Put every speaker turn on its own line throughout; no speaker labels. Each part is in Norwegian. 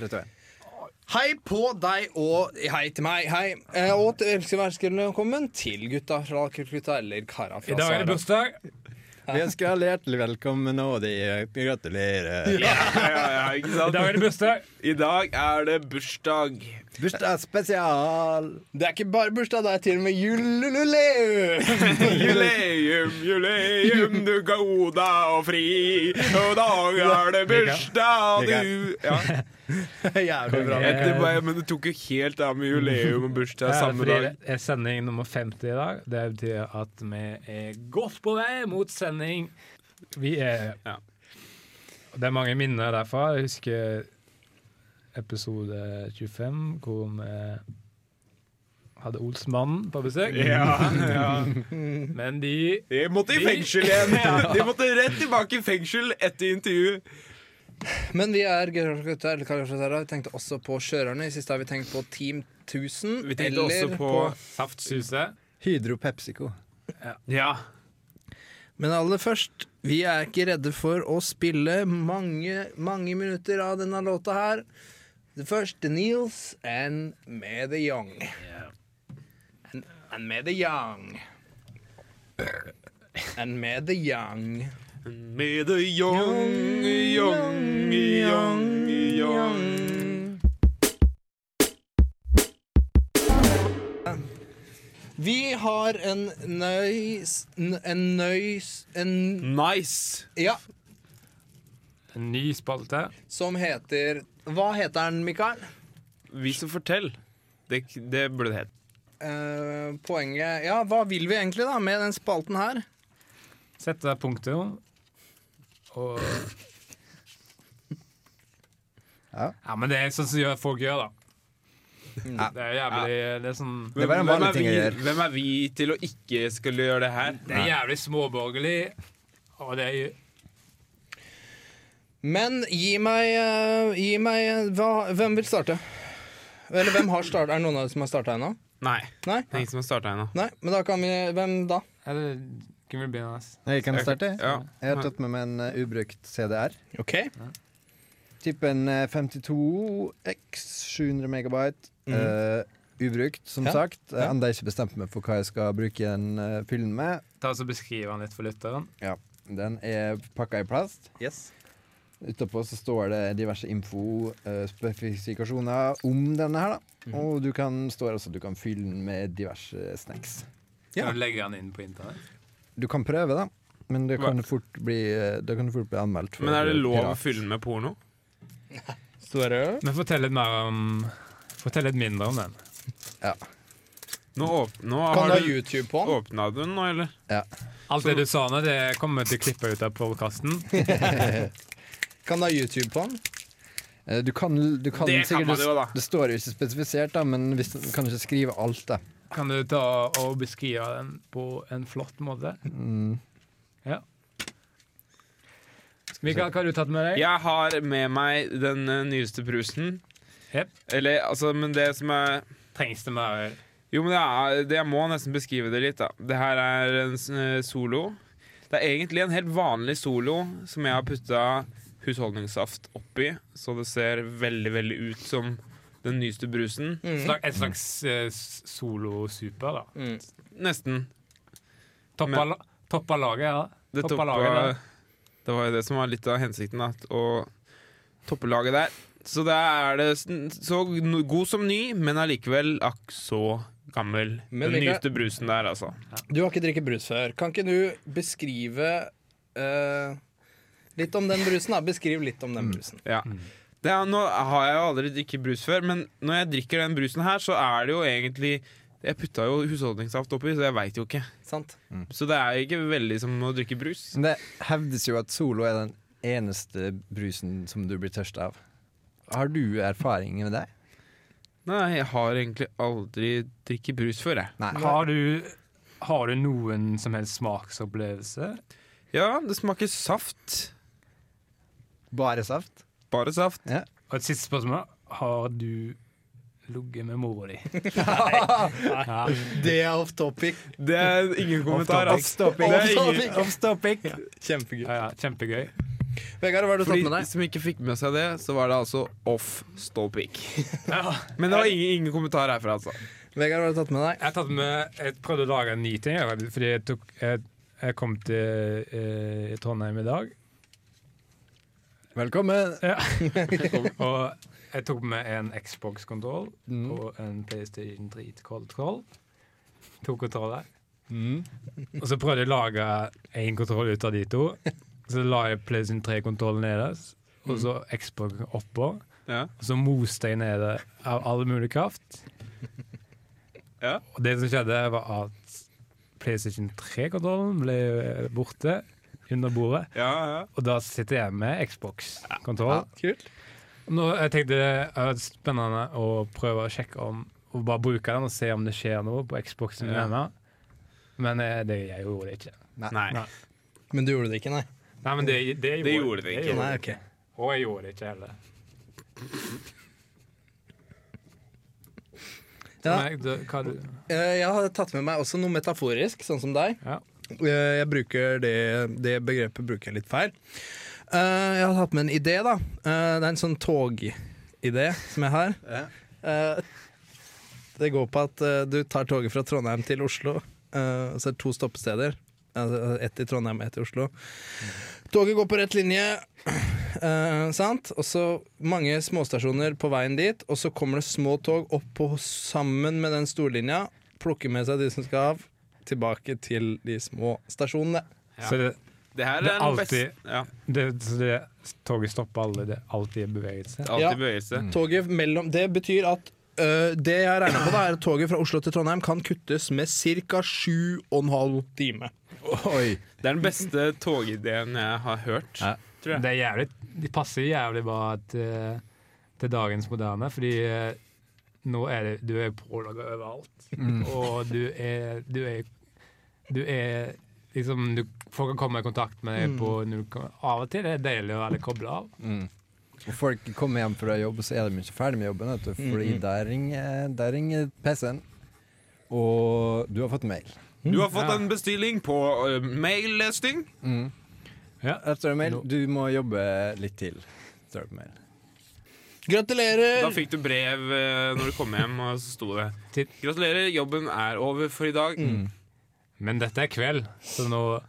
rett og slett.
Hei på deg og hei til meg. Hei. Eh, og til elsker verdenskvelden velkommen til gutta fra Kulkutta eller kara
I
fra
dag er
Sara.
det bursdag.
Vi ønsker alle hjertelig velkommen, og de gratulerer.
Ja, ja, ja, ikke
I dag er
sant?
det bursdag.
I dag er det bursdag.
Bursdagsspesial!
Det er ikke bare bursdag, det er til og med juleluleum!
Juleum, juleum, du ga Oda og fri. Og i dag er det bursdag, du ja.
Jævlig bra.
Jeg tenkte bare, Men du tok jo helt av med juleum og bursdag samme
fordi
dag.
det er sending nummer 50 i dag. Det betyr at vi er godt på vei mot sending. Vi er
Ja.
Det er mange minner derfra. Jeg husker episode 25, hvor vi hadde Olsmannen på besøk.
Ja, ja.
Men de
De måtte i fengsel igjen. De måtte rett tilbake i fengsel etter intervju.
Men vi er Gutta eller kara fra Sara. Vi tenkte også på kjørerne. I siste har vi tenkt på Team 1000.
Vi tenkte
eller
også på
Saftsuset.
Hydro Pepsico.
Ja.
Men aller først, vi er ikke redde for å spille mange, mange minutter av denne låta her. Det første Niels and Med The Young. And, and Med The Young. And Med The Young.
Med the young, young, young, young.
Vi har en nøys En nøys En
Nice.
Ja,
En ny spalte.
som heter Hva heter den, Mikael?
Vis og fortell. Det, det burde det hett.
Eh, poenget Ja, hva vil vi egentlig da med den spalten her?
Sette punktum. Og
Ja.
men det er sånn som gjør- folk gjør, da.
Ja.
Det er jævlig Det er sånn
Det var en
Hvem
vanlig
er
ting å
vi-
gjøre.
Hvem er vi til å ikke skulle gjøre det her?
Det er jævlig småborgerlig. Og det er
Men gi meg, eh, gi meg eh, hva, Hvem vil starte? Eller hvem har starta? Er det noen av dere som har starta ennå?
Nei.
Nei?
Det er ingen som har starta ennå.
Nei? Men da kan vi Hvem da?
Eller Kan vi begynne? ass?
Nei, Kan jeg starte?
Ja.
Jeg har tatt med meg en eh, ubrukt CDR.
OK.
Typen eh, 52X, 700 megabyte. eh, ubrukt, som
Mm. Ja.
sagt. Jeg
Ja.
har ennå ikke bestemt meg for hva jeg skal bruke den eh, fyllen med.
Ta oss og Beskriv den litt for lytteren.
Den er pakka i plast.
Yes.
Utapå så står det diverse info, eh, spesifikasjoner om denne her. da
Mhm.
Og du kan, står altså at du kan fylle den med diverse snacks.
Ja.
Kan du legge den inn på internett?
Du kan prøve, da. Men det kan fort bli, eh, da kan du fort bli anmeldt. for
Men er det lov å
pirat.
fylle den med porno?
Store
Men fortell litt mer om Fortell litt mindre om den.
Nå, åp nå
Kan du
har
ha
du
YouTube på den?
Åpna du den nå, eller?
Alt det du sa nå, det kommer vi til å klippe ut av podkasten.
Kan du ha YouTube på den?
Eh, Du kan, du kan
Det kan
sikkert,
man jo, da.
Det står jo ikke spesifisert, da, men hvis, du kan ikke skrive alt, da.
Kan du ta og beskrive den på en flott måte? Ja. Mikael, hva har du tatt med deg?
Jeg har med meg den eh, nyeste brusen.
Jep.
Eller, altså, men det som er
Trengs det mer
Jo, men det er, det, jeg må nesten beskrive det litt, da. Det her er en s- eh, solo. Det er egentlig en helt vanlig solo som jeg har putta husholdningssaft oppi, så det ser veldig, veldig ut som den nyeste brusen.
Mm.
slag, Et slags eh, s- solo-super, da.
Mm.
Nesten.
Toppa,
Men-
la- toppa laget, ja.
Det,
Toppa
toppa,
laget,
det var jo det som var litt av hensikten, da, å toppe laget der. Så da er det sn- så no- god som ny, men allikevel akk så gammel.
Men
den
Mikael-
nyeste brusen der, altså.
Du har ikke drikket brus før. Kan ikke du beskrive eh, litt om den brusen? da? Beskriv litt om den brusen.
Ja. Det er, nå har jeg jo aldri drikket brus før, men når jeg drikker den brusen her, så er det jo egentlig Jeg putta jo husholdningssaft oppi, så jeg veit jo ikke.
Sant?
Så det er jo ikke veldig som å drikke brus.
Men det hevdes jo at Solo er den eneste brusen som du blir tørst av. Har du erfaring med det?
Nei, jeg har egentlig aldri drikket brus før, jeg.
Nei.
da. Har du, har du noen som helst smaksopplevelse?
Ja, det smaker saft.
Bare saft?
Bare saft.
Og et siste spørsmål. Har du ligget med mora di? Ja.
Det er off topic.
Det er ingen kommentar. ass.
Off-topic.
Det er ingen-
Off topic. Kjempegøy.
Ja, ja, kjempegøy.
Vegard, hva har du
For
tatt med
de
deg?
som ikke fikk med seg det, så var det altså off stålpikk. Men det var ingen, ingen kommentar herfra, altså.
Vegard, hva har du tatt med deg?
Jeg, har tatt med, jeg prøvde å lage en ny ting, jeg, fordi jeg, tok, jeg, jeg kom til eh, Trondheim i dag.
Velkommen!
Ja. og jeg tok med en Xbox-kontroll
Mm.
og en PlayStation 3-kontroll. To kontroller.
Mm.
Og så prøvde jeg å lage én kontroll ut av de to. Så la jeg PlayStation 3-kontrollen nederst, og så Xbox oppå.
Ja.
Og så moste jeg ned det av all mulig kraft.
Ja.
Og det som skjedde, var at PlayStation 3-kontrollen ble eh, borte under bordet.
Ja, ja.
Og da sitter jeg med Xbox-kontroll.
Kult.
Nå, jeg tenkte det er spennende å prøve å sjekke om Og bare bruke den og se om det skjer noe på Xboxen min
Ja.
ennå. Men eh, det, jeg gjorde det ikke.
Nei.
Men du gjorde det ikke, nei?
Nei, men det, det, gjorde,
Det gjorde det ikke.
Nei, ok.
Og jeg gjorde det ikke heller.
Ja,
Nei, det, hva du,
eh, jeg har tatt med meg også noe metaforisk, sånn som deg.
ja.
Eh, Jeg bruker det, det begrepet bruker jeg litt feil. Eh, Jeg har tatt med en idé, da. Eh, Det er en sånn togidé som jeg har. Eh, Det går på at eh, du tar toget fra Trondheim til Oslo, eh, og så er det to stoppesteder. Altså, Ett i Trondheim, ett i Oslo. Toget går på rett linje, eh, sant? Og så mange småstasjoner på veien dit, og så kommer det små tog opp på, sammen med den storlinja, plukker med seg de som skal av, tilbake til de små stasjonene.
Så det,
Det her er
Det er
den
alltid-
beste- Ja,
det, så det, toget stopper alle. Det er alltid i bevegelse.
alltid
Ja. Mm.
bevegelse.
Toget mellom Det betyr at øh, det jeg regner på, da, er at toget fra Oslo til Trondheim kan kuttes med ca. 7,5 time.
Oi!
Det er den beste togideen jeg har hørt.
Ja.
tror jeg.
Det er jævlig, de passer jævlig bra til, til dagens moderne, fordi eh, nå er det, du er pålaga overalt.
Mm.
Og du er, du er Du er liksom du, Folk kan komme i kontakt med deg på
Mm.
når du kan- Av og til er det deilig å være kobla av.
Og folk kommer hjem fra jobb, så er de ikke ferdig med jobben, vet du, fordi der ringer, der ringer PC-en, og du har fått mail.
Du har fått
Ja.
en bestilling på uh, maillesting.
Etter en mail,
Nå-
du må jobbe litt til. Etter en mail.
Da
Gratulerer!
fikk du brev eh, når du kom hjem, og så sto det
Til-
'Gratulerer, jobben er over for i dag'.
Men dette er kveld, så nå,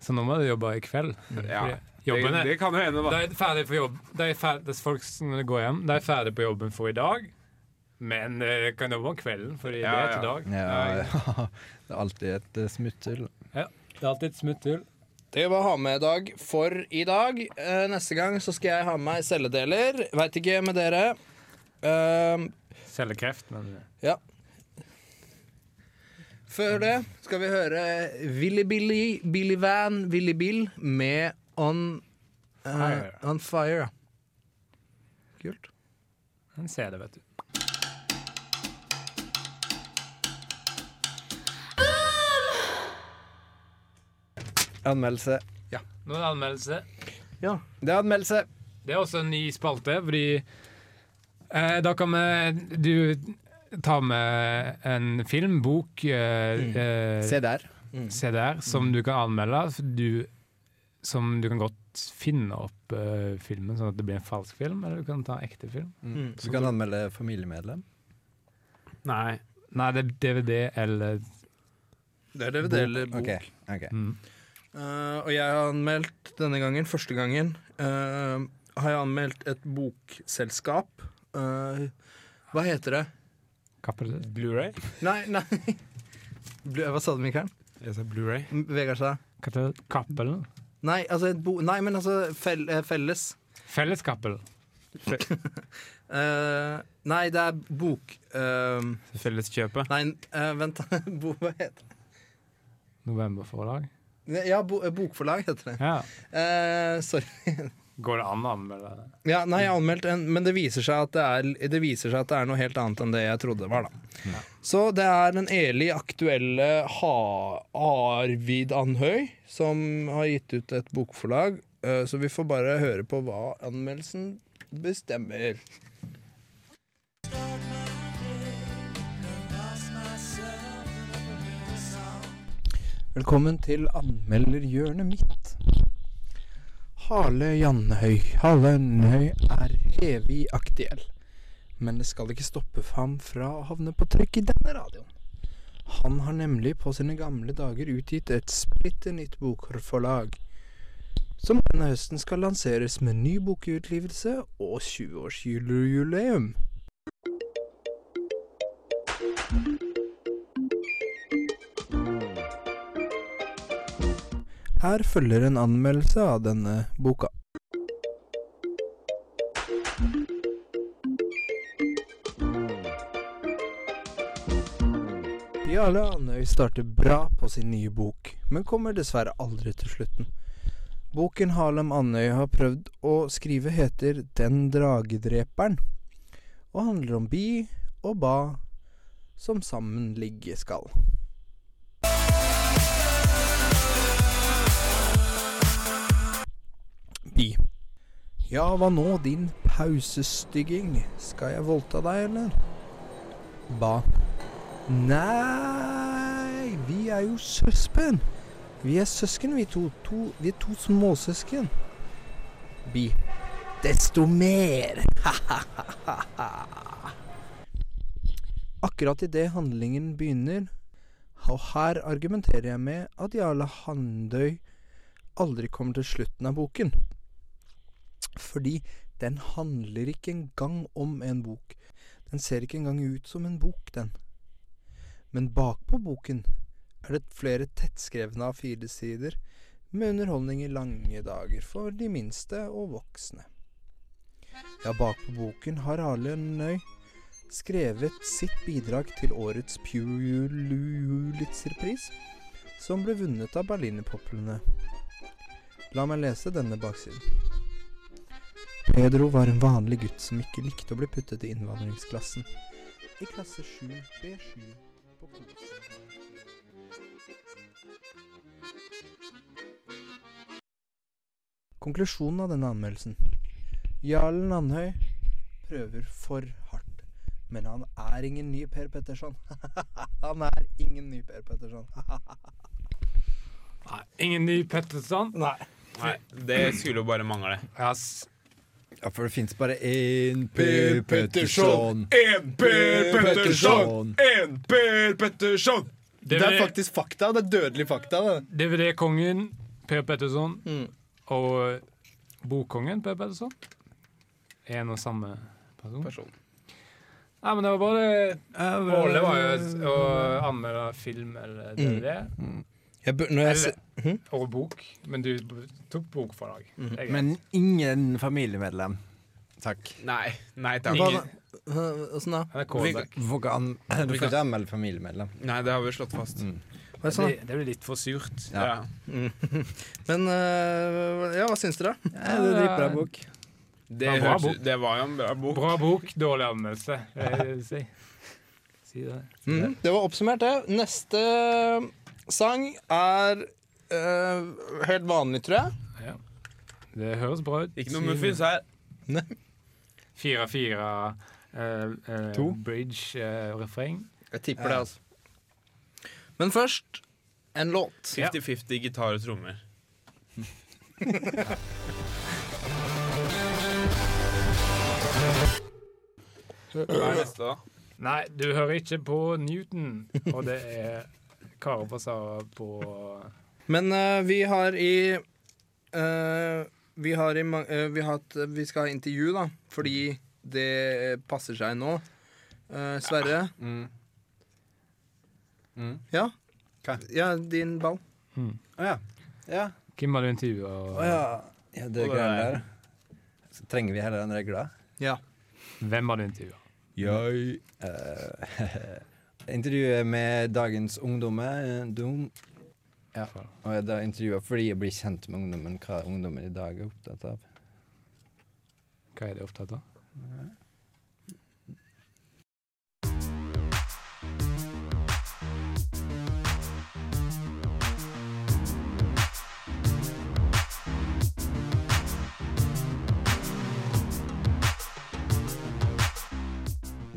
så nå må du jobbe i kveld.
Ja.
Fordi
Det,
Jobben er
det kan jo hende,
De
da.
er ferdig på jobb De er ferdig, det er folk som går hjem De er ferdig på jobben for i dag Men eh, kan jobbe om kvelden Fordi
Ja,
det er til
ja.
dag
Ja, det er alltid et eh, smutthull.
ja. Det er alltid et smutthull
Det var ha med-dag for i dag. Eh, neste gang så skal jeg ha med meg celledeler. Veit ikke med dere. Ehm,
Cellekreft, men
ja. Før det skal vi høre Willy Billy, Billy Van, Willy Bill med On, eh,
Fire.
on Fire. Kult.
Han ser det, vet du
Anmeldelse.
Nå er det anmeldelse
Det er anmeldelse.
Det er også en ny spalte Fordi eh, Da kan vi Du tar med en film, bok eh, eh,
Se der.
se der, som du kan anmelde. for Du, som du kan godt finne opp eh, filmen, sånn at det blir en falsk film, eller du kan ta en ekte film.
Mm.
Så du kan anmelde familiemedlem.
Nei.
Nei, det er DVD eller
Det er DVD eller bok.
Ok, ok.
mm.
Eh, og jeg har anmeldt denne gangen, første gangen, eh, har jeg anmeldt et bokselskap. Eh, hva heter det?
Kappel.
Blu-ray?
Nei, nei Blu- Hva sa du, Mikael?
Jeg sa Blu-ray.
M- Vegard sa
Kappel. Kappel.
Nei, altså et bo... Nei, men altså fell, eh, felles.
Felleskappel.
Eh, nei, det er bok... eh,
Felleskjøpet.
nei, eh, vent da. Bo, hva heter
Novemberforlag.
det? Ja, bo, eh, bokforlag heter det.
Ja.
Eh, sorry.
Går det an å anmelde det?
Ja, nei, jeg har anmeldt en, men det viser, seg at det, er, det viser seg at det er noe helt annet enn det jeg trodde det var, da. Så det er den evig aktuelle ha Arvid Andhøy som har gitt ut et bokforlag. eh, Så vi får bare høre på hva anmeldelsen bestemmer. Velkommen til anmelderhjørnet mitt. Harle Jannhøy. Harle Jannhøy er evig aktuell. Men det skal ikke stoppe ham fra å havne på trykk i denne radioen. Han har nemlig på sine gamle dager utgitt et splitter nytt bokforlag, som denne høsten skal lanseres med ny bokutgivelse og 20-årsjulejubileum. Her følger en anmeldelse av denne boka. Jarle Andøy starter bra på sin nye bok, men kommer dessverre aldri til slutten. Boken Harlem Andøy har prøvd å skrive heter Den dragedreperen, og handler om bi og ba som sammen ligge skal. Bi. Ja, hva nå, din pausestygging? Skal jeg voldta deg, eller? Ba. Nei, vi er jo søsken. Vi er søsken, vi to. to vi er to småsøsken. Bi. Desto mer. Akkurat idet handlingen begynner, og her argumenterer jeg med at Jarle Handøy aldri kommer til slutten av boken. Fordi den handler ikke engang om en bok. Den ser ikke engang ut som en bok, den men bakpå boken er det flere tettskrevne A4-sider med underholdning i lange dager for de minste og voksne. Ja, bakpå boken har Arle Nøy skrevet sitt bidrag til årets Pulitzer-pris, som ble vunnet av berlinerpoplene. La meg lese denne baksiden. Pedro var en vanlig gutt som ikke likte å bli puttet i innvandringsklassen. I klasse 7B7 på kosen. Konklusjonen av denne anmeldelsen. Jarlen Andhøy prøver for hardt, men han er ingen ny Per Petterson. han er ingen ny Per Petterson.
Nei, ingen ny Petterson.
Nei.
Nei, det skulle jo bare mangle.
Ja, s-
Ja, for det fins bare én Per Petterson.
En Per
Petterson.
En Per Petterson! Det er
DVD-
faktisk fakta. Det er dødelig fakta. Det.
DVD-kongen Per Petterson
Mm.
og eh, bokkongen Per Petterson. En og samme person.
Person.
Nei, men det var bare Målet var jo å anmelde film eller DVD.
Jeg bur- når jeg
Eller-
se-
Og bok. Men du b- tok bokforlag. Det er greit.
Men ingen familiemedlem. Takk.
Nei. Nei
Hva
takk.
da? Hva- Åssen da?
Han er
Du
callback.
får ikke an- du får ikke anmelde familiemedlem.
Nei, det har vi slått fast.
Hva er
Det,
sånn?
det blir litt for surt.
Ja.
Ja.
Men øh, ja, hva syns dere?
Ja, det er dritbra bok.
Det,
Ja, bra
hørtes
bok.
ut Det var jo en bra bok.
Bra bok, dårlig anmeldelse. vil jeg Si. si det.
Mm, det var oppsummert, det. Neste sang er øh, helt vanlig, tror jeg.
Det høres bra ut.
Ikke noe muffins her.
Fire-fire eh,
To.
bridge-refreng.
Jeg tipper det, altså. Men først en låt.
50-50 gitar og trommer. Hva er neste, da?
Nei, du hører ikke på Newton, og det er Kare og Sara på
Men øh, vi har i øh, Vi har i ma- øh, vi, har hatt, vi skal ha intervju, da, fordi det eh, passer seg nå. Øh, Sverre?
Mm. Mm.
Ja?
Hva?
Ja, din ball.
Hmm.
Å ja. Ja.
Hvem har du intervjua?
Å ja. ja det
Og det
greiene
er-
der. Så trenger vi heller en regle.
Ja.
Hvem har du intervjua?
Jeg Eh, Intervjuet med dagens ungdommer. eh, Dum. Ja. Og jeg da intervjuet fordi jeg blir kjent med ungdommen, hva ungdommen i dag er opptatt av.
Hva er de opptatt av?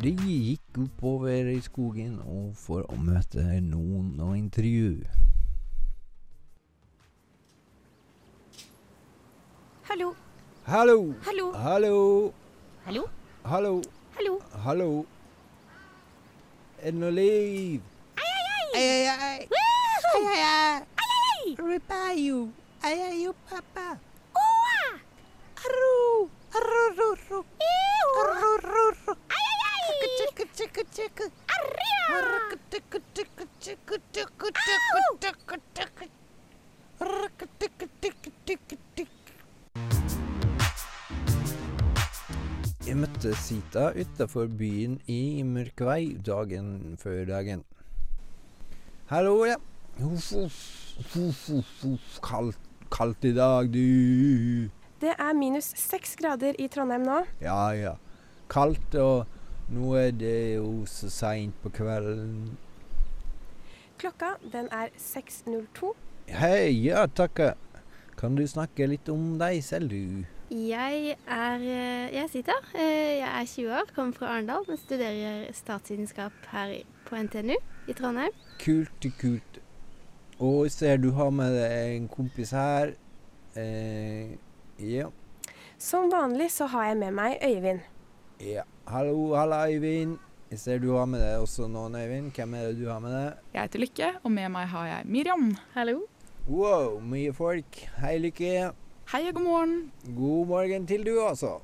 De gikk oppover i skogen og for å møte noen og intervju.
Hallo,
Hallo!
hallo,
Hallo!
hallo,
Hallo!
hallo.
Hallo! Er det noe liv?
Ai, ai,
Eh,
ai. Woohoo! Ai, ai, ai.
Repaio. Ai, ai, o papá.
Oa!
Arru. Arrururu.
Iho!
Arrururu.
Ai, ai, ai.
Ticu, ticu, ticu.
Arriba!
Arrucu, ticu, ticu, ticu, ticu, ticu, ticu, ticu. Arrucu, ticu, ticu, ticu, ticu.
Jeg møtte Sita utafor byen i Mørkvei dagen før dagen. Hallo, ja. Huff, huff, huff, huff, huff. Kaldt, kaldt i dag, du.
Det er minus seks grader i Trondheim nå.
Ja, ja. Kaldt, og nå er det jo så seint på kvelden.
Klokka den er 6.02.
Hei, ja, takke. Kan du snakke litt om deg selv, du?
Jeg er eh, Jeg sitter. Eh, Jeg er 20 år, kommer fra Arendal, men studerer statsvitenskap her i- på NTNU i Trondheim.
Kult, kult. Og jeg ser du har med deg en kompis her. Eh, ja.
Som vanlig så har jeg med meg Øyvind.
Ja. Hallo, halla, Øyvind. Jeg ser du har med deg også noen, Øyvind. Hvem er det du har med deg?
Jeg heter Lykke, og med meg har jeg Miriam.
Hallo.
Wow, mye folk. Hei, Lykke.
Hei og god morgen.
God morgen til du altså. også.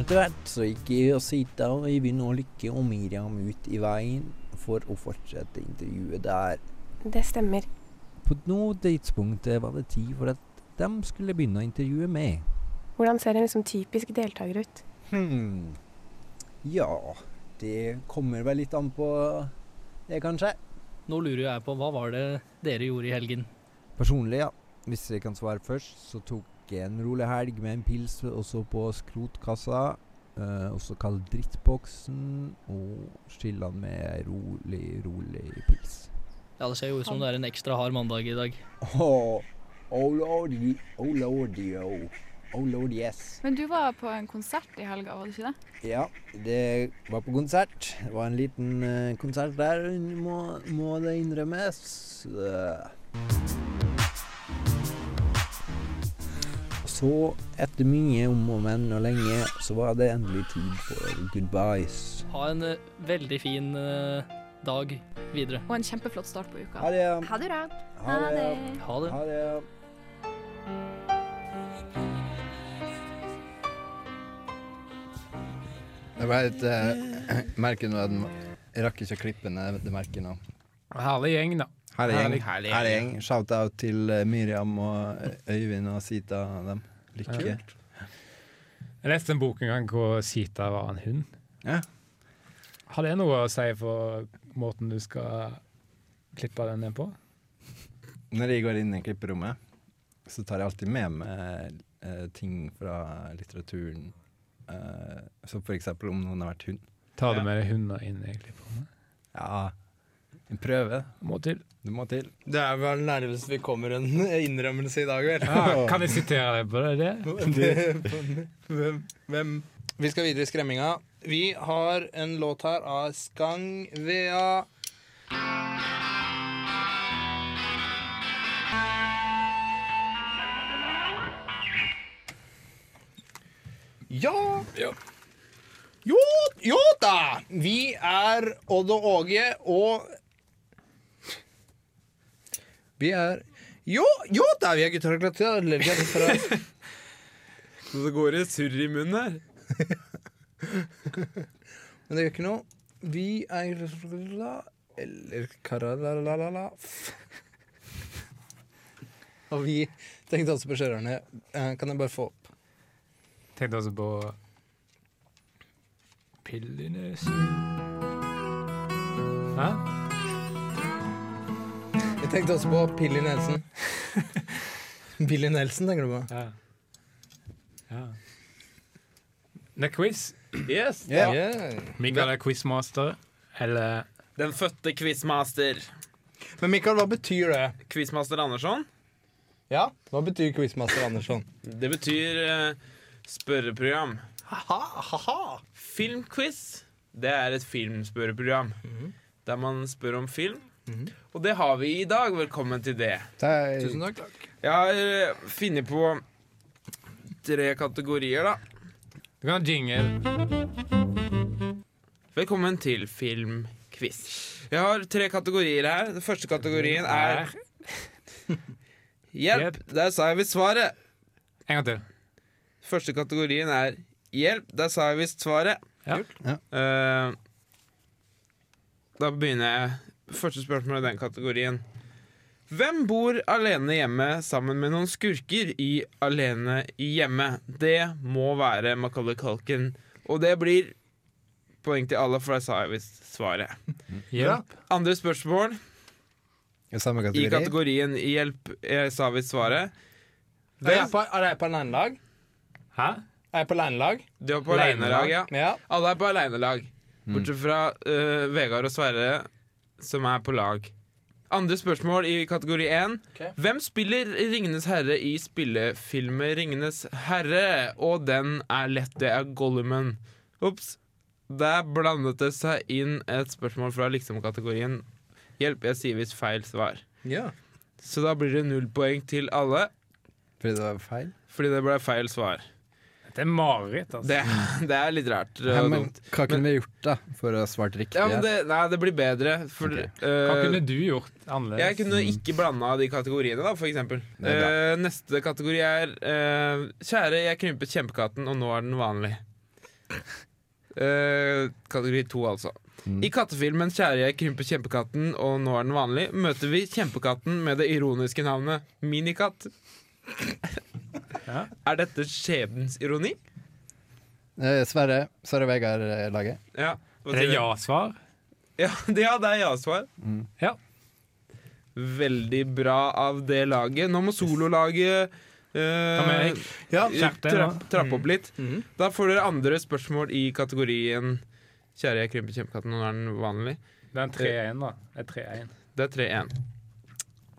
Etter hvert så gikk jeg og Sita og Øyvind og Lykke og Miriam ut i veien for å fortsette intervjuet der.
Det stemmer.
På noe tidspunkt eh, var det tid for at de skulle begynne å intervjue meg.
Hvordan ser en liksom typisk deltaker ut?
Hmm. Ja, det kommer vel litt an på det, kanskje.
Nå lurer jeg på, hva var det dere gjorde i helgen?
Personlig, ja. Hvis jeg kan svare først, så tok jeg en rolig helg med en pils også på skrotkassa. eh, også kalt drittboksen. Og skylla den med ei rolig, rolig pils.
Ja, Det ser jo ut som det er en ekstra hard mandag i dag.
Oh, oh lordy, oh lordy, oh. Oh lord, yes.
Men du var på en konsert i helga, var du ikke det?
Ja, det var på konsert. Det var en liten eh, konsert der, må, må det innrømmes. Eh. Så, etter mye om og men og lenge, så var det endelig tid for goodbyes.
Ha en eh, veldig fin eh, dag videre.
Og en kjempeflott start på uka.
Ha det.
Ha det bra.
Ha det.
Ha det.
Ha det.
Det var et eh, merke nå. at den- Jeg rakk ikke å klippe ned det merket nå.
Herlig gjeng, da.
Herlig gjeng.
Herlig gjeng.
Herlig gjeng. Shout-out til eh, Miriam og eh, Øyvind og Sita og dem. Lykke.
Jeg leste en bok en gang hvor Sita var en hund.
Ja.
Har det noe å si for måten du skal klippe den ned på?
Når jeg går inn i klipperommet, så tar jeg alltid med meg eh, ting fra litteraturen. Eh, så for eksempel om noen har vært hund.
Tar du med deg hunder inn i klipperommet?
Ja, en prøve.
Må til.
Det må til.
Det er vel nærmest vi kommer en innrømmelse i dag, vel?
Ja, kan jeg sitere deg på det? det?
Hvem, hvem?
Vi skal videre i skremminga. Vi har en låt her av Skang Vea. Ja. Jo, jo da! Vi er Odd og Åge og Vi er Jo, jo da! Vi er gutter og glatter.
Så det går i surr i munnen her.
Men det gjør ikke noe. Vi er Eller karalalalala. Og vi tenkte også på kjørerne. Eh, Kan jeg bare få opp
Tenkte også på Pillenes Hæ?
Jeg tenkte også på Pilly Nelson. Billy Nelson, tenker du på?
Ja. ja. Det er quiz.
Yes.
Yeah.
Mikael er quizmaster. Eller
Den fødte quizmaster.
Men Mikael, hva betyr det?
Quizmaster Andersson.
Ja, Hva betyr quizmaster Andersson?
Det betyr eh, spørreprogram. Filmquiz. Det er et filmspørreprogram der man spør om film. Og det har vi i dag. Velkommen til det.
Tusen
Tusen
takk.
Jeg har eh, funnet på tre kategorier, da.
Du kan ha jingle.
Velkommen til filmquiz. Jeg har tre kategorier her. Den første
Mm,
kategorien er Hjelp! Der sa jeg visst svaret.
En gang til.
Første kategorien er Hjelp! Der sa jeg visst svaret. Eh, da begynner jeg. Første spørsmål i den kategorien. Hvem bor alene hjemme sammen med noen skurker i Alene i hjemme? Det må være Macaulay Culkin. Og det blir poeng til alle, for der sa jeg visst svaret.
Hjelp.
Andre spørsmål
I samme kategori.
i kategorien Hjelp, jeg sa visst svaret.
Er jeg på, er jeg på leinelag?
Hæ?
Er jeg på leinelag?
Du er på alenelag, ja. Alle er på alenelag. Bortsett fra eh, Vegard og Sverre, som er på lag. Andre spørsmål i kategori 1. Hvem spiller Ringenes herre i spillefilmen Ringenes herre? Og den er lett, det er Gollumen. Ops. Der blandet det seg inn et spørsmål fra liksom-kategorien. Hjelp, jeg sier visst feil svar. Så da blir det null poeng til alle.
Fordi det var feil?
Fordi det ble feil svar.
Det er mareritt, altså.
Det, det er litt rart. og
Ja, men
dumt.
hva kunne vi gjort da for å ha svart riktig?
Ja, men
her?
det, nei, det blir bedre. For,
Hva
eh,
kunne du gjort annerledes?
jeg kunne ikke blanda de kategoriene, da, for eksempel.
Det er bra.
Eh, neste kategori er eh, Kjære, jeg krympet kjempekatten, og nå er den vanlig. Eh, kategori to, altså.
Mm.
I kattefilmen 'Kjære, jeg krympet kjempekatten, og nå er den vanlig' møter vi kjempekatten med det ironiske navnet Minikatt. Er dette skjebnens ironi?
Eh, Sverre, Sverre eh, Vegard-laget.
Ja. hva
Er det
sier du?
ja-svar?
Ja, det ja, det er ja-svar.
Ja.
Veldig bra av det laget. Nå må sololaget
Kom
eh,
igjen, Erik.
ja,
Skjerp deg
trapp,
nå. Mm.
trappe opp litt. Da får dere andre spørsmål i kategorien Kjære, jeg krymper kjempekatten, nå er den vanlig.
Det er en 3-1, da. Det er 3-1.
Det er 3-1.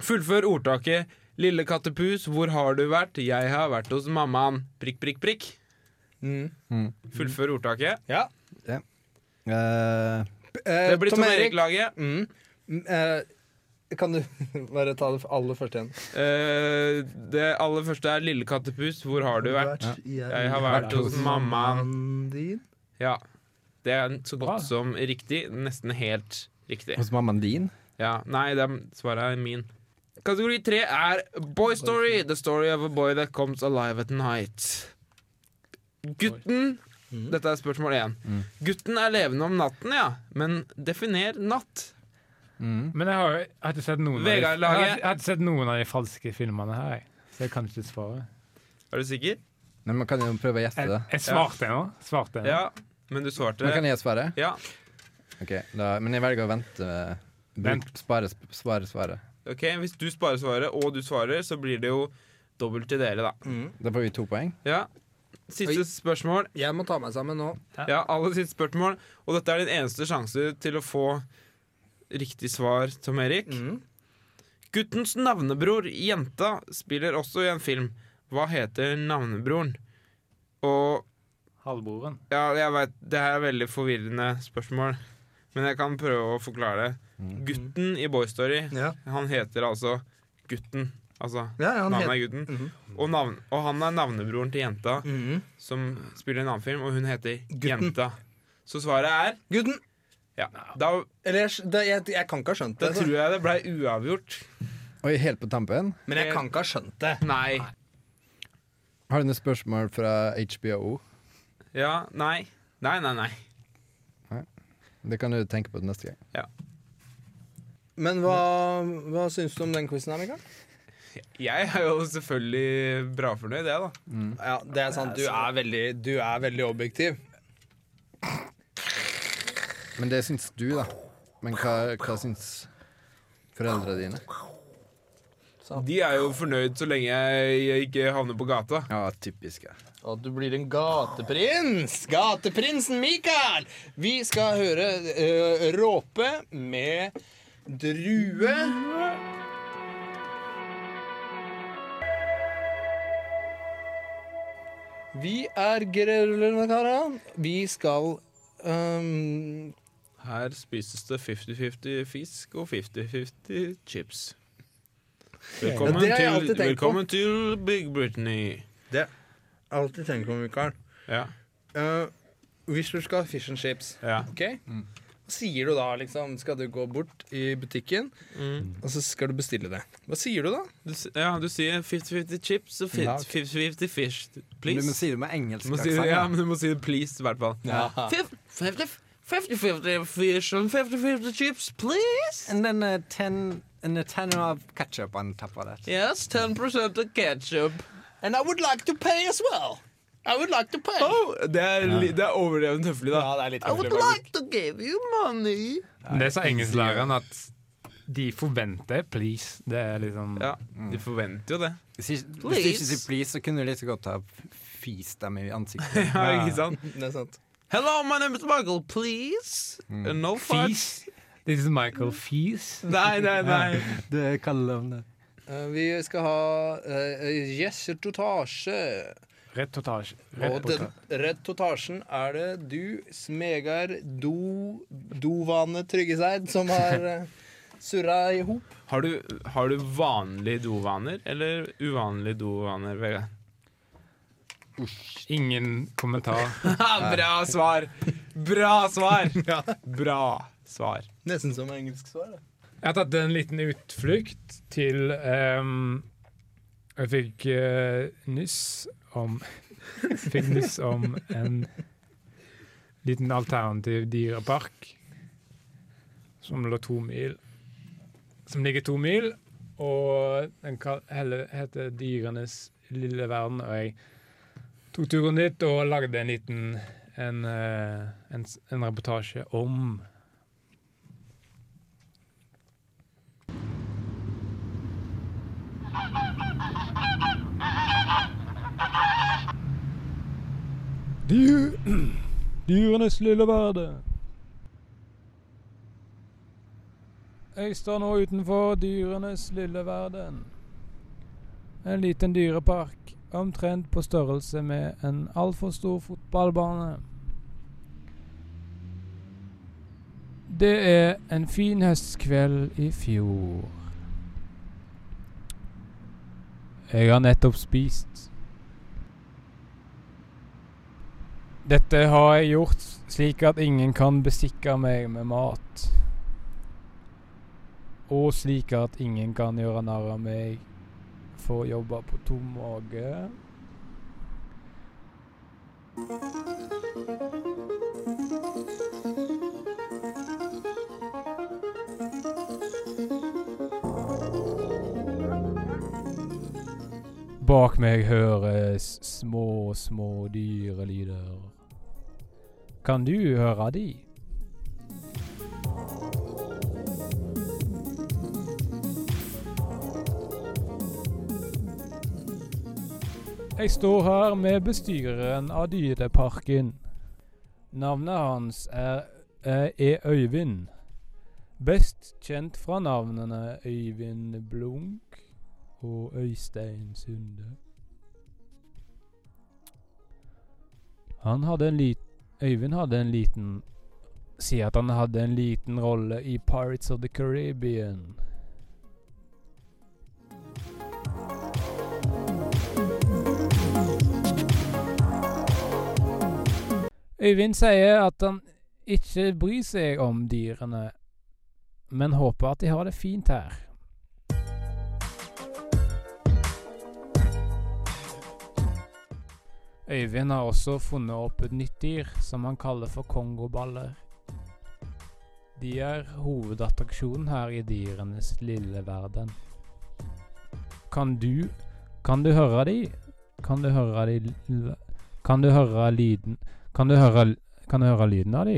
Fullfør ordtaket 'Lille kattepus, hvor har du vært? Jeg har vært hos mammaen.' Prikk, prikk, prikk.
Mm.
Fullfør ordtaket.
Ja.
Ja. Eh,
Det blir Tom Erik-laget.
Mm. Mm, eh, kan du bare ta det aller første igjen?
Eh, det aller første er 'Lille kattepus, hvor har du vært?'
Ja.
Jeg har vært hos mammaen.
din.
Ja. Det er så godt som riktig. Nesten helt riktig.
Hos mammaen din?
Ja. Nei, det er, svaret er min. Kategori tre er Boy Story. The story of a boy that comes alive at night. Gutten Dette er spørsmål én. Gutten er levende om natten, ja. Men definer natt. Mm.
Men jeg har jo jeg har ikke sett noen av de,
Vegard-laget.
jeg har, jeg har ikke sett noen av de falske filmene her, jeg. så jeg kan ikke svare.
Er du sikker?
Nei, man kan jo prøve å gjette
Jeg,
det.
jeg svarte nå. Svarte nå.
Ja, men du svarte
Men kan jeg svare?
Ja.
Ok, da, Men jeg velger å vente. eh, Bruk, spare, sp- spare svaret.
Ok, Hvis du sparer svaret, og du svarer, så blir det jo dobbelt til dere, da.
Da får vi to poeng.
Ja. Siste spørsmål.
Jeg må ta meg sammen nå.
Ja, aller siste spørsmål. Og dette er din eneste sjanse til å få riktig svar, Tom Erik.
Mm.
Guttens navnebror, jenta, spiller også i en film. Hva heter navnebroren? Og
Halvbroren.
Ja, jeg vet, det her er veldig forvirrende spørsmål, men jeg kan prøve å forklare. Gutten i Boy Story, han heter altså Gutten. Altså
Ja, ja, han
navnet
het- Mhm.
er Gutten. og, navn, og han er navnebroren til jenta, som spiller i en annen film, og hun heter Jenta. Så svaret er
Gutten!
Ja. Da,
Eller jeg, det, jeg, jeg kan ikke ha skjønt
da
det. altså.
tror jeg det ble uavgjort.
Oi, helt på tampen.
Men jeg kan ikke ha skjønt det.
Nei.
Har du noen spørsmål fra HBO?
Ja, nei. Nei, nei, nei.
Det kan du tenke på til neste gang.
Men hva, hva syns du om den quizen her, Mikael?
Jeg er jo selvfølgelig bra fornøyd, jeg, da.
Ja, det er sant. Du er veldig, du er veldig objektiv.
Men det syns du, da. Men hva, hva syns foreldrene dine?
De er jo fornøyd så lenge jeg ikke havner på gata.
Ja, typisk. Ja.
Og du blir en gateprins! Gateprinsen Mikael! Vi skal høre eh, Råpe med drue. Vi er grønne karer. Vi skal ehm,
Her spises det 50-50 fisk og 50-50 chips. Velkommen,
Ja, det har jeg
til,
alltid tenkt på.
velkommen til Big Britney.
Det har jeg alltid tenkt på, Mikael. Eh, hvis du skal ha fish and chips, ok? Hva sier du da, liksom? Skal du gå bort i butikken, og så skal du bestille det? Hva sier du da?
Du, s- ja, du sier 50-50 chips og
Ja, ok.
50-50 fish, please.
Men du må si det med engelsk
Du må si det-
aksent,
Ja,
da.
men du må si det please, i hvert fall.
Ja.
50-50 fish and 50-50 chips, please.
And then a ten and a ten of ketchup on top of that.
Yes, 10% of ketchup.
And I would like to pay as well. I would like to pay.
Oh, det er, li- det er overdrevent høflig, da. Ja, det er litt
I would like to give you money.
Det sa engelsklæreren at de forventer please. Det er liksom
Ja, de forventer jo det.
Hvis ikke- hvis du ikke
Please.
sier please, så kunne du like så godt ha fist dem i ansiktet.
Ja, ikke sant?
Det er sant.
Hello, my name is Michael, please. Uh, No fuss.
Fees. This is Michael Fees.
Nei, nei, nei.
Det kaller de det.
Eh, vi skal ha uh, gjessertotasje.
Reportasje.
Og den reportasjen er det du, Smegar Do Dovane Tryggeseid, som har eh, surra i hop.
Har du, har du vanlige dovaner eller uvanlige dovaner, Vegard?
Ingen kommentar.
Bra svar! Bra svar! Bra svar.
Nesten som engelsk svar. da.
Jeg har tatt en liten utflukt til ehm, Jeg fikk eh, nyss om Fikk nyss om en liten alternativ dyrepark som lå to mil Som ligger to mil, og den kal- heller- heter Dyrenes lille verden. Og jeg tok turen dit og lagde en liten en, eh, en, s- en reportasje om Dyr, dyrenes lille verden. Jeg står nå utenfor dyrenes lille verden. En liten dyrepark, omtrent på størrelse med en altfor stor fotballbane. Det er en fin høstkveld i fjor. Jeg har nettopp spist. Dette har jeg gjort slik at ingen kan bestikke meg med mat. Og slik at ingen kan gjøre narr av meg for å jobbe på tom mage. Bak meg høres små, små dyrelyder. Kan du høre de? Jeg står her med bestyreren av dyreparken. Navnet hans er, eh, er Øyvind. Best kjent fra navnene Øyvind Blunk og Øystein Sunde. Han hadde en lit Øyvind hadde en liten Sier at han hadde en liten rolle i Pirates of the Caribbean. Øyvind sier at han ikke bryr seg om dyrene, men håper at de har det fint her. Øyvind har også funnet opp et nytt dyr som han kaller for kongoballer. De er hovedattraksjonen her i dyrenes lille verden. Kan du Kan du høre de? Kan du høre de l- Kan du høre lyden Kan du høre Kan du høre lyden av de?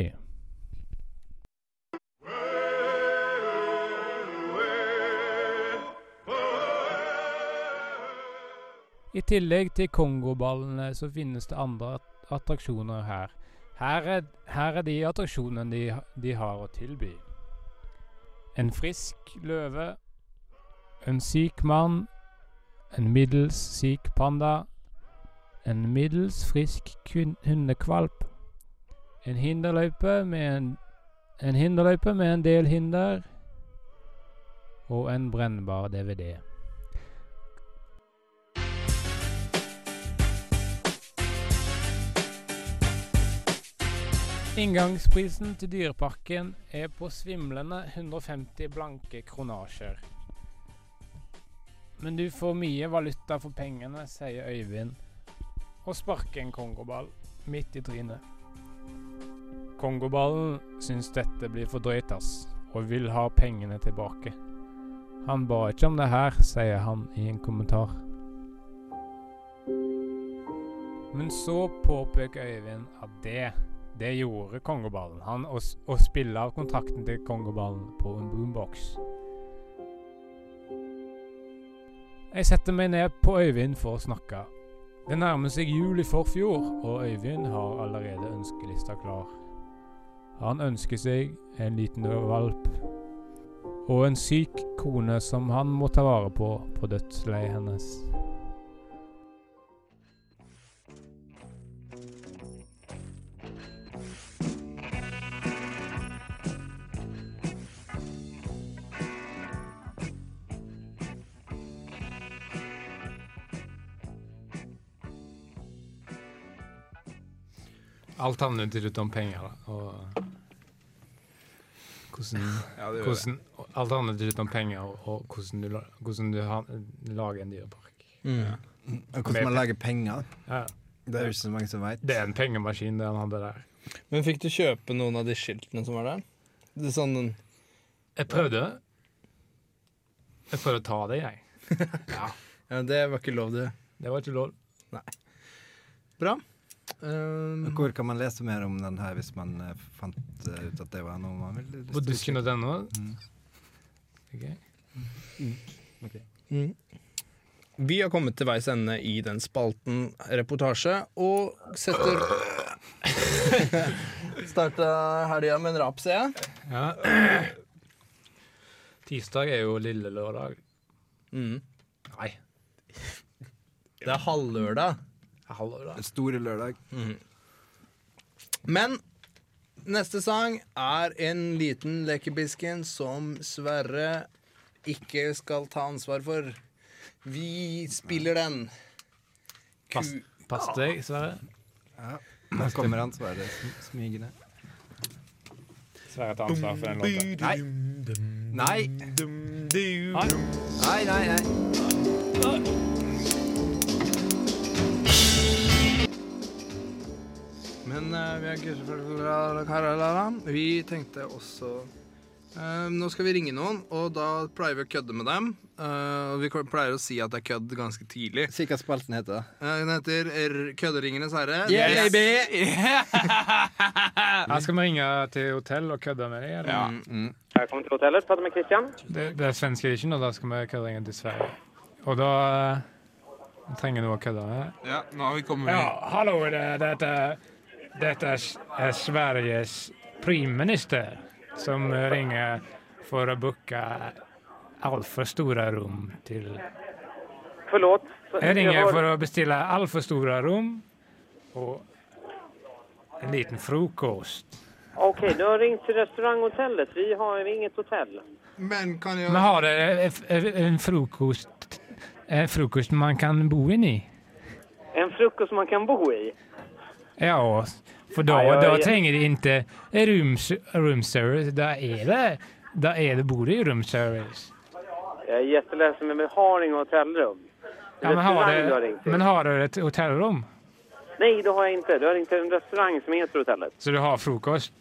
I tillegg til kongoballene så finnes det andre at- attraksjoner her. Her er, her er de attraksjonene de, ha- de har å tilby. En frisk løve, en syk mann, en middels syk panda, en middels frisk kun- hundekvalp, en hinderløype med en, en hinderløype med en del hinder, og en brennbar DVD.
Inngangsprisen til Dyreparken er på svimlende 150 blanke kronasjer. Men du får mye valuta for pengene, sier Øyvind, og sparker en kongoball midt i trynet. Kongoballen syns dette blir for drøyt, ass, og vil ha pengene tilbake. Han ba ikke om det her, sier han i en kommentar. Men så påpeker Øyvind at det, det gjorde kongoballen. Han å, s- å spille av kontrakten til kongoballen på en boombox. Jeg setter meg ned på Øyvind for å snakke. Det nærmer seg jul i forfjor, og Øyvind har allerede ønskelista klar. Han ønsker seg en liten valp og en syk kone som han må ta vare på på dødsleiet hennes.
Alt handler til slutt om penger, da. Og hvordan,
Ja, det gjør
hvordan, alt handler til slutt om penger og, og hvordan du, la- hvordan du ha, lager en dyrepark.
Mm. Og hvordan man lager penger.
Ja.
Det er jo ikke så mange som veit.
Det er en pengemaskin, det han hadde der.
Men fikk du kjøpe noen av de skiltene som var der? Det er sånn
Jeg prøvde. Jeg prøvde å ta det, jeg.
ja. Det var ikke lov, det.
Det var ikke lov.
Nei. Bra. Ehm.
Hvor kan man lese mer om den her hvis man eh, fant eh, ut at det var noe man ville
På dusken.no. Ok.
Mm. Vi har kommet til veis ende i den spalten reportasje, og setter Starta helga med en rap, ser jeg.
Ja. Tirsdag er jo lille lørdag. Nei.
Mm. Det er halvlørdag.
Store lørdag.
Men neste sang er en liten lekebisken som Sverre ikke skal ta ansvar for. Vi spiller den.
Pass, pass deg, Sverre.
Ja. Nå kommer ansvaret smygende.
Sverre tar ansvar for den låten.
Nei. Nei. Nei, nei, nei.
Men eh, vi er kurser fra Karalala. Vi tenkte også eh, Nå skal vi ringe noen, og da pleier vi å kødde med dem. Eh, og vi pleier å si at det er kødd ganske tidlig.
Si hva spalten heter.
Eh, den heter R- Kødderingenes herre.
Yes,
Her
Her skal vi ringe til hotell og kødde med deg. eller?
Velkommen til hotellet. Prater med Christian.
Det, det er svenske edition, og da skal vi kødde ringe til Sverige. Og da eh, trenger du å kødde eh? med.
Ja, nå har vi kommet
Ja, hallå, det, dette, dette er s- er Sveriges
Primminister eh, som ringer for å booke altfor store rom til
Forlåt.
Jeg ringer for å bestille altfor store rom og en liten frokost.
Okej, du har ringt till restauranghotellet. Vi har inget hotell.
Men kan
Men har eh, dere en frokost En frokost man kan bo inn i?
En frukost man kan bo i?
Ja, for da,
Ja, ja,
da
ja.
trenger de ikke room, room service. Da er det, da er det bor det i room service.
Jag är jätteledsen, men vi har inga hotellrum.
Ja, men, har
Restaurang du har
det,
ringt till.
men har du ett hotellrom?
Nej, det har jag inte. Du har ringt till en restaurang som heter hotellet.
Så du har frokost?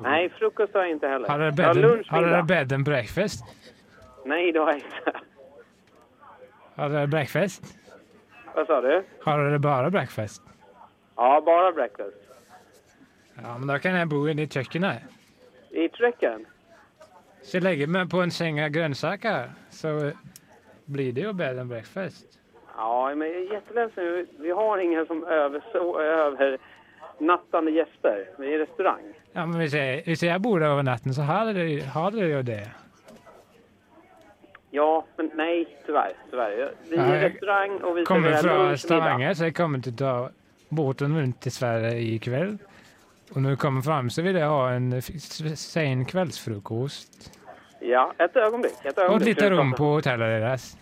Nej, frukost har jag inte heller.
Har dere
jag har
bed,
lunch,
har dere
middag.
bed and breakfast?
Nej, det har jag inte.
Har dere breakfast?
Vad sa du?
Har dere bare breakfast?
Ja, bara breakfast.
Ja, men da kan jeg bo inne i kjøkkenet.
I trucken?
Så jeg legger meg på en seng av grønnsaker, så blir det jo bed and breakfast.
Ja, men jag är jätteledsen. Vi har ingen som överså- övernattande gäster. Vi är restaurang.
Ja, men hvis jeg, hvis jeg bor der over natten, så har dere har dere jo det.
Ja, men nej, tyvärr. tyvärr. Vi
Ja,
är
jag
restaurang och vi
kommer
lunch,
fra
middag.
Stavanger, så jeg kommer til å ta båten rundt til Sverige i kveld. Og når jeg kommer fram, så vil jeg ha en f- s- sen kveldsfrokost.
Ja, ett ögonblick. Ett
Og et
ögonblick.
lite rom på hotellet deres.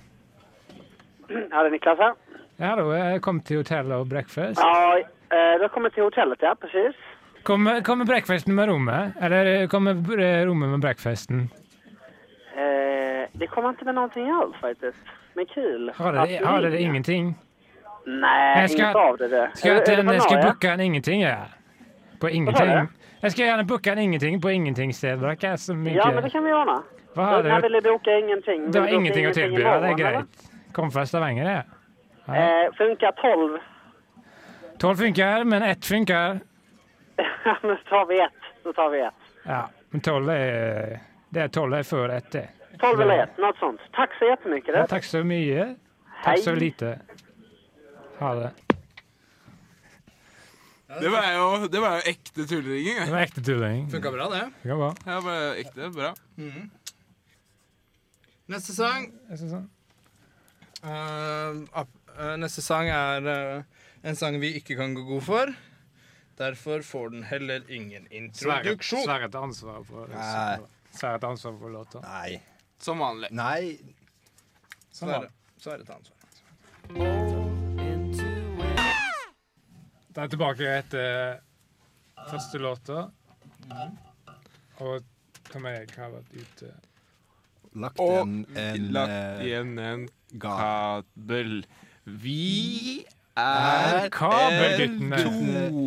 Ja, det är Niklas här.
Ja da, jeg kom til hotellet og breakfast.
Ja, eh, du har kommit till hotellet, ja, precis.
Kommer, kommer breakfasten med rommet? Eller kommer eh, rommet med breakfasten?
Eh, det kommer inte med någonting alls faktiskt. Men kul.
Har dere, har dere ingenting?
Nej,
Jag
inget av det. där.
Eh,
Ska jag,
Är- är det
till en, jag ska
bananer?
booka en ingenting, ja. På
du?
ingenting. Jag ska gärna booka en ingenting på ingenting-sted. Verkar så mycket.
Ja, men det kan vi ordna.
Vad har
du? När
du-
vill du boka ingenting? Vill
Du har
boka
ingenting att
i
tilby. Det er
morgon, eller?
greit. Kom fra Stavanger, det. Ja.
Eh, funkar 12.
Tolv funker, men ett funker.
Men så tar vi ett. Så tar vi ett.
Ja, men tolv er Det er tolv er før ett, det.
12 eller
Ja.
ett, något sånt. Tack så jättemycket. du.
Ja, takk så mye. Takk så
Hei.
lite. Ha det.
Det var jo, det var jo ekte tulleringing.
Det var ekte tulling.
Funka bra, det.
Funka bra.
Ja, bare ekte bra.
Neste sang
Neste sang,
Eh, ap- eh, neste sang er eh, en sang vi ikke kan gå god for. Derfor får den heller ingen
Sverre
introduksjon.
Sverre tar ansvar for
Nei.
Sverre tar ansvar for låta. Nei.
Som vanlig.
Nei.
Sverre, Sverre tar ansvar.
Da er jeg tilbake etter eh, første låta. Og Tom Erik har vært ute.
Lagt
Og
igjen en,
lagt
eh,
igjen en
ga-
kabel. Vi
Er
er
kabelguttene.
tohoda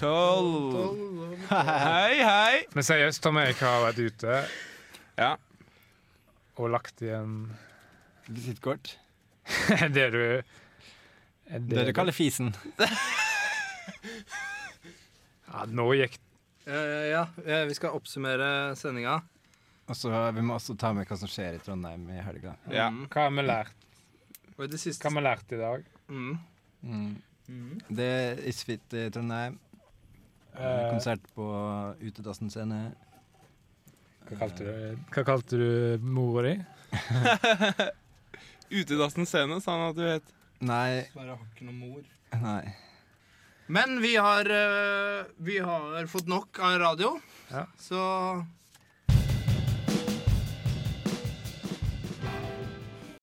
trolløpertroll. Hei, hei.
Men seriøst, Tom Erik har vært ute.
Ja.
Og lagt igjen
Visittkort.
det du Det,
Det du kaller fisen.
Ja, nå gikk
Eh, ja, eh, vi skal oppsummere sendinga.
Og så Vi må også ta med hva som skjer i Trondheim i helga.
Mm.
Hva har vi lært?
Og i det siste
Hva har vi lært i dag?
Mm.
Mm.
Mm.
Det er Isfit i Trondheim.
Eh.
Konsert på Utedassen scene.
Eh, Hva kalte du, hva kalte du mora di?
Utedassen scene, sa han at du het.
Nei.
Sverre har ikke noe mor.
Nei.
Men vi har, eh, vi har fått nok av radio.
Ja.
Så